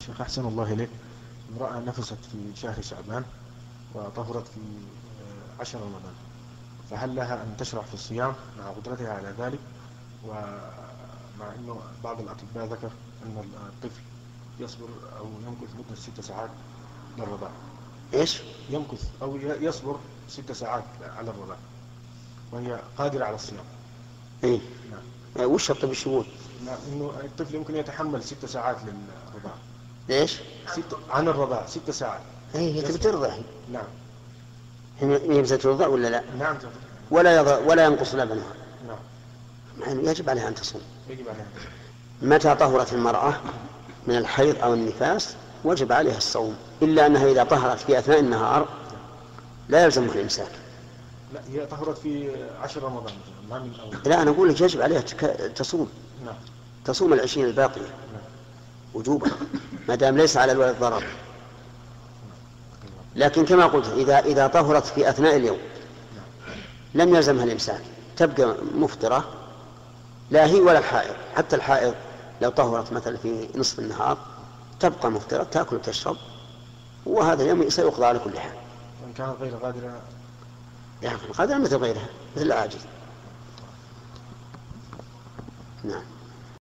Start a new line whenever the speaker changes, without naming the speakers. شيخ أحسن الله إليك امرأة نفست في شهر شعبان وطهرت في آه، عشر رمضان فهل لها أن تشرع في الصيام مع قدرتها على ذلك ومع أنه بعض الأطباء ذكر أن الطفل يصبر أو يمكث مدة ست ساعات للرضاع إيش؟ يمكث أو يصبر ست ساعات على الرضاع وهي قادرة على الصيام
ايه نعم. وش الطب الشمول؟
نعم إنه الطفل يمكن يتحمل ست ساعات للرضاع
ليش؟
ست عن الرضاع ست ساعات
ايه هي تبي ترضع
نعم
هي مسألة الرضع ولا لا؟
نعم
ولا يضع ولا ينقص لبنها
نعم
يعني يجب عليها أن تصوم
يجب عليها
متى طهرت المرأة من الحيض أو النفاس وجب عليها الصوم إلا أنها إذا طهرت في أثناء النهار لا يلزمها الإمساك
لا هي طهرت في عشر رمضان ما من أول
لا أنا أقول لك يجب عليها تك- تصوم
نعم
تصوم العشرين الباقية
نعم
وجوبا ما دام ليس على الولد ضرر لكن كما قلت إذا إذا طهرت في أثناء اليوم
نعم.
لم يلزمها الإمساك تبقى مفطرة لا هي ولا الحائض حتى الحائض لو طهرت مثلا في نصف النهار تبقى مفطرة تأكل وتشرب وهذا اليوم سيقضى على كل حال
وإن كانت غير قادرة
يعني القادر مثل غيرها مثل العاجز نعم